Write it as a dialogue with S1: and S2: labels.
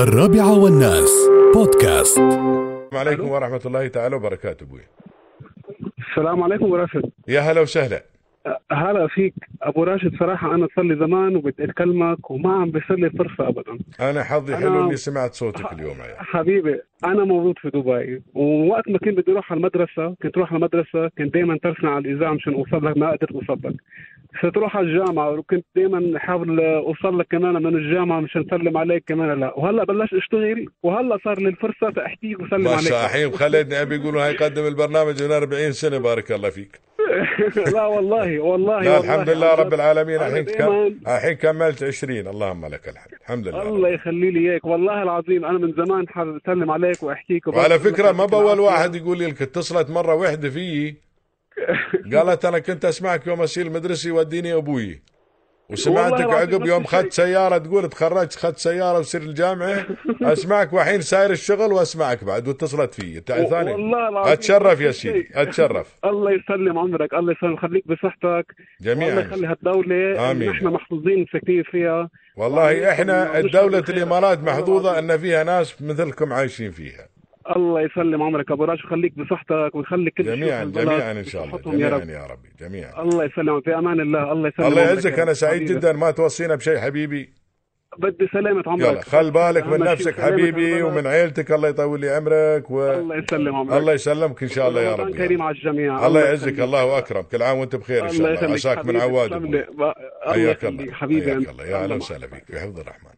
S1: الرابعة والناس بودكاست
S2: السلام عليكم ورحمة الله تعالى وبركاته أبوي
S3: السلام عليكم ابو راشد
S2: يا هلا وسهلا
S3: أه، هلا فيك ابو راشد صراحه انا صار لي زمان وبدي اكلمك وما عم بيصير لي فرصه ابدا
S2: أنا حظي
S3: أنا-
S2: حلو إني سمعت صوتك اليوم يعني
S3: حبيبي انا مولود في دبي ووقت ما كنت بدي اروح على المدرسه كنت اروح على المدرسه كنت دائما ترسنا على الاذاعه مشان اوصل لك ما قدرت اوصل لك صرت اروح على الجامعه وكنت دائما احاول اوصل لك كمان من الجامعه مشان اسلم عليك كمان لا وهلا بلشت اشتغل وهلا صار لي الفرصه فاحكيك وسلم
S2: الله
S3: عليك
S2: شاحيم خالدني أبي يقولوا هاي قدم البرنامج من 40 سنة بارك الله فيك
S3: لا والله والله
S2: لا الحمد
S3: والله
S2: لله رب العالمين
S3: أنا
S2: الحين كم
S3: دايماً-
S2: الحين كملت 20 اللهم لك الحمد الحمد لله
S3: الله يخلي لي اياك والله العظيم انا من زمان حابب اسلم عليك واحكيك
S2: وعلى فكرة ما بأول واحد يقول لي لك اتصلت مرة واحدة فيي قالت أنا كنت أسمعك يوم أسير المدرسة يوديني أبوي وسمعتك
S3: والله العظيم
S2: عقب
S3: نفس
S2: يوم
S3: الشيء.
S2: خدت سيارة تقول تخرجت خدت سيارة وصير الجامعة أسمعك وحين ساير الشغل وأسمعك بعد واتصلت فيي تع- ثاني
S3: والله العظيم
S2: اتشرف يا
S3: نفس الشيء.
S2: سيدي اتشرف
S3: الله يسلم عمرك الله يسلم خليك بصحتك الله
S2: جميعا
S3: يخلي هالدولة
S2: آمين.
S3: اللي احنا محظوظين ساكنين فيها
S2: والله
S3: الله
S2: احنا
S3: يسلمك.
S2: الدولة
S3: بخير.
S2: الامارات
S3: الله
S2: محظوظة
S3: العظيم.
S2: ان فيها ناس مثلكم عايشين فيها
S3: الله يسلم عمرك ابو راشد خليك بصحتك ويخلي كل شيء
S2: جميعا
S3: في البلد
S2: جميعا ان شاء الله
S3: بصحتهم يا
S2: جميعا
S3: رب
S2: يا ربي جميعا
S3: الله يسلمك في امان الله الله يسلمك
S2: الله يعزك انا سعيد جدا ما توصينا بشيء حبيبي
S3: بدي سلامة عمرك
S2: يلا خل بالك من
S3: أهم شيء
S2: نفسك
S3: سلامة
S2: حبيبي
S3: البلد.
S2: ومن عيلتك الله يطول لي عمرك و
S3: الله يسلم عمرك
S2: الله يسلمك ان شاء الله يا
S3: رمضان
S2: رب
S3: كريم على الجميع
S2: الله يعزك
S3: يسلمك.
S2: الله اكرم كل عام وانت بخير ان شاء الله
S3: يخليك
S2: عساك من
S3: حبيبي.
S2: عواد
S3: تسلم
S2: أبوي.
S3: لي. الله
S2: حياك
S3: يخليك
S2: الله
S3: حبيبي
S2: حياك الله يا اهلا
S3: الله معك.
S2: وسهلا فيك في حفظ الرحمن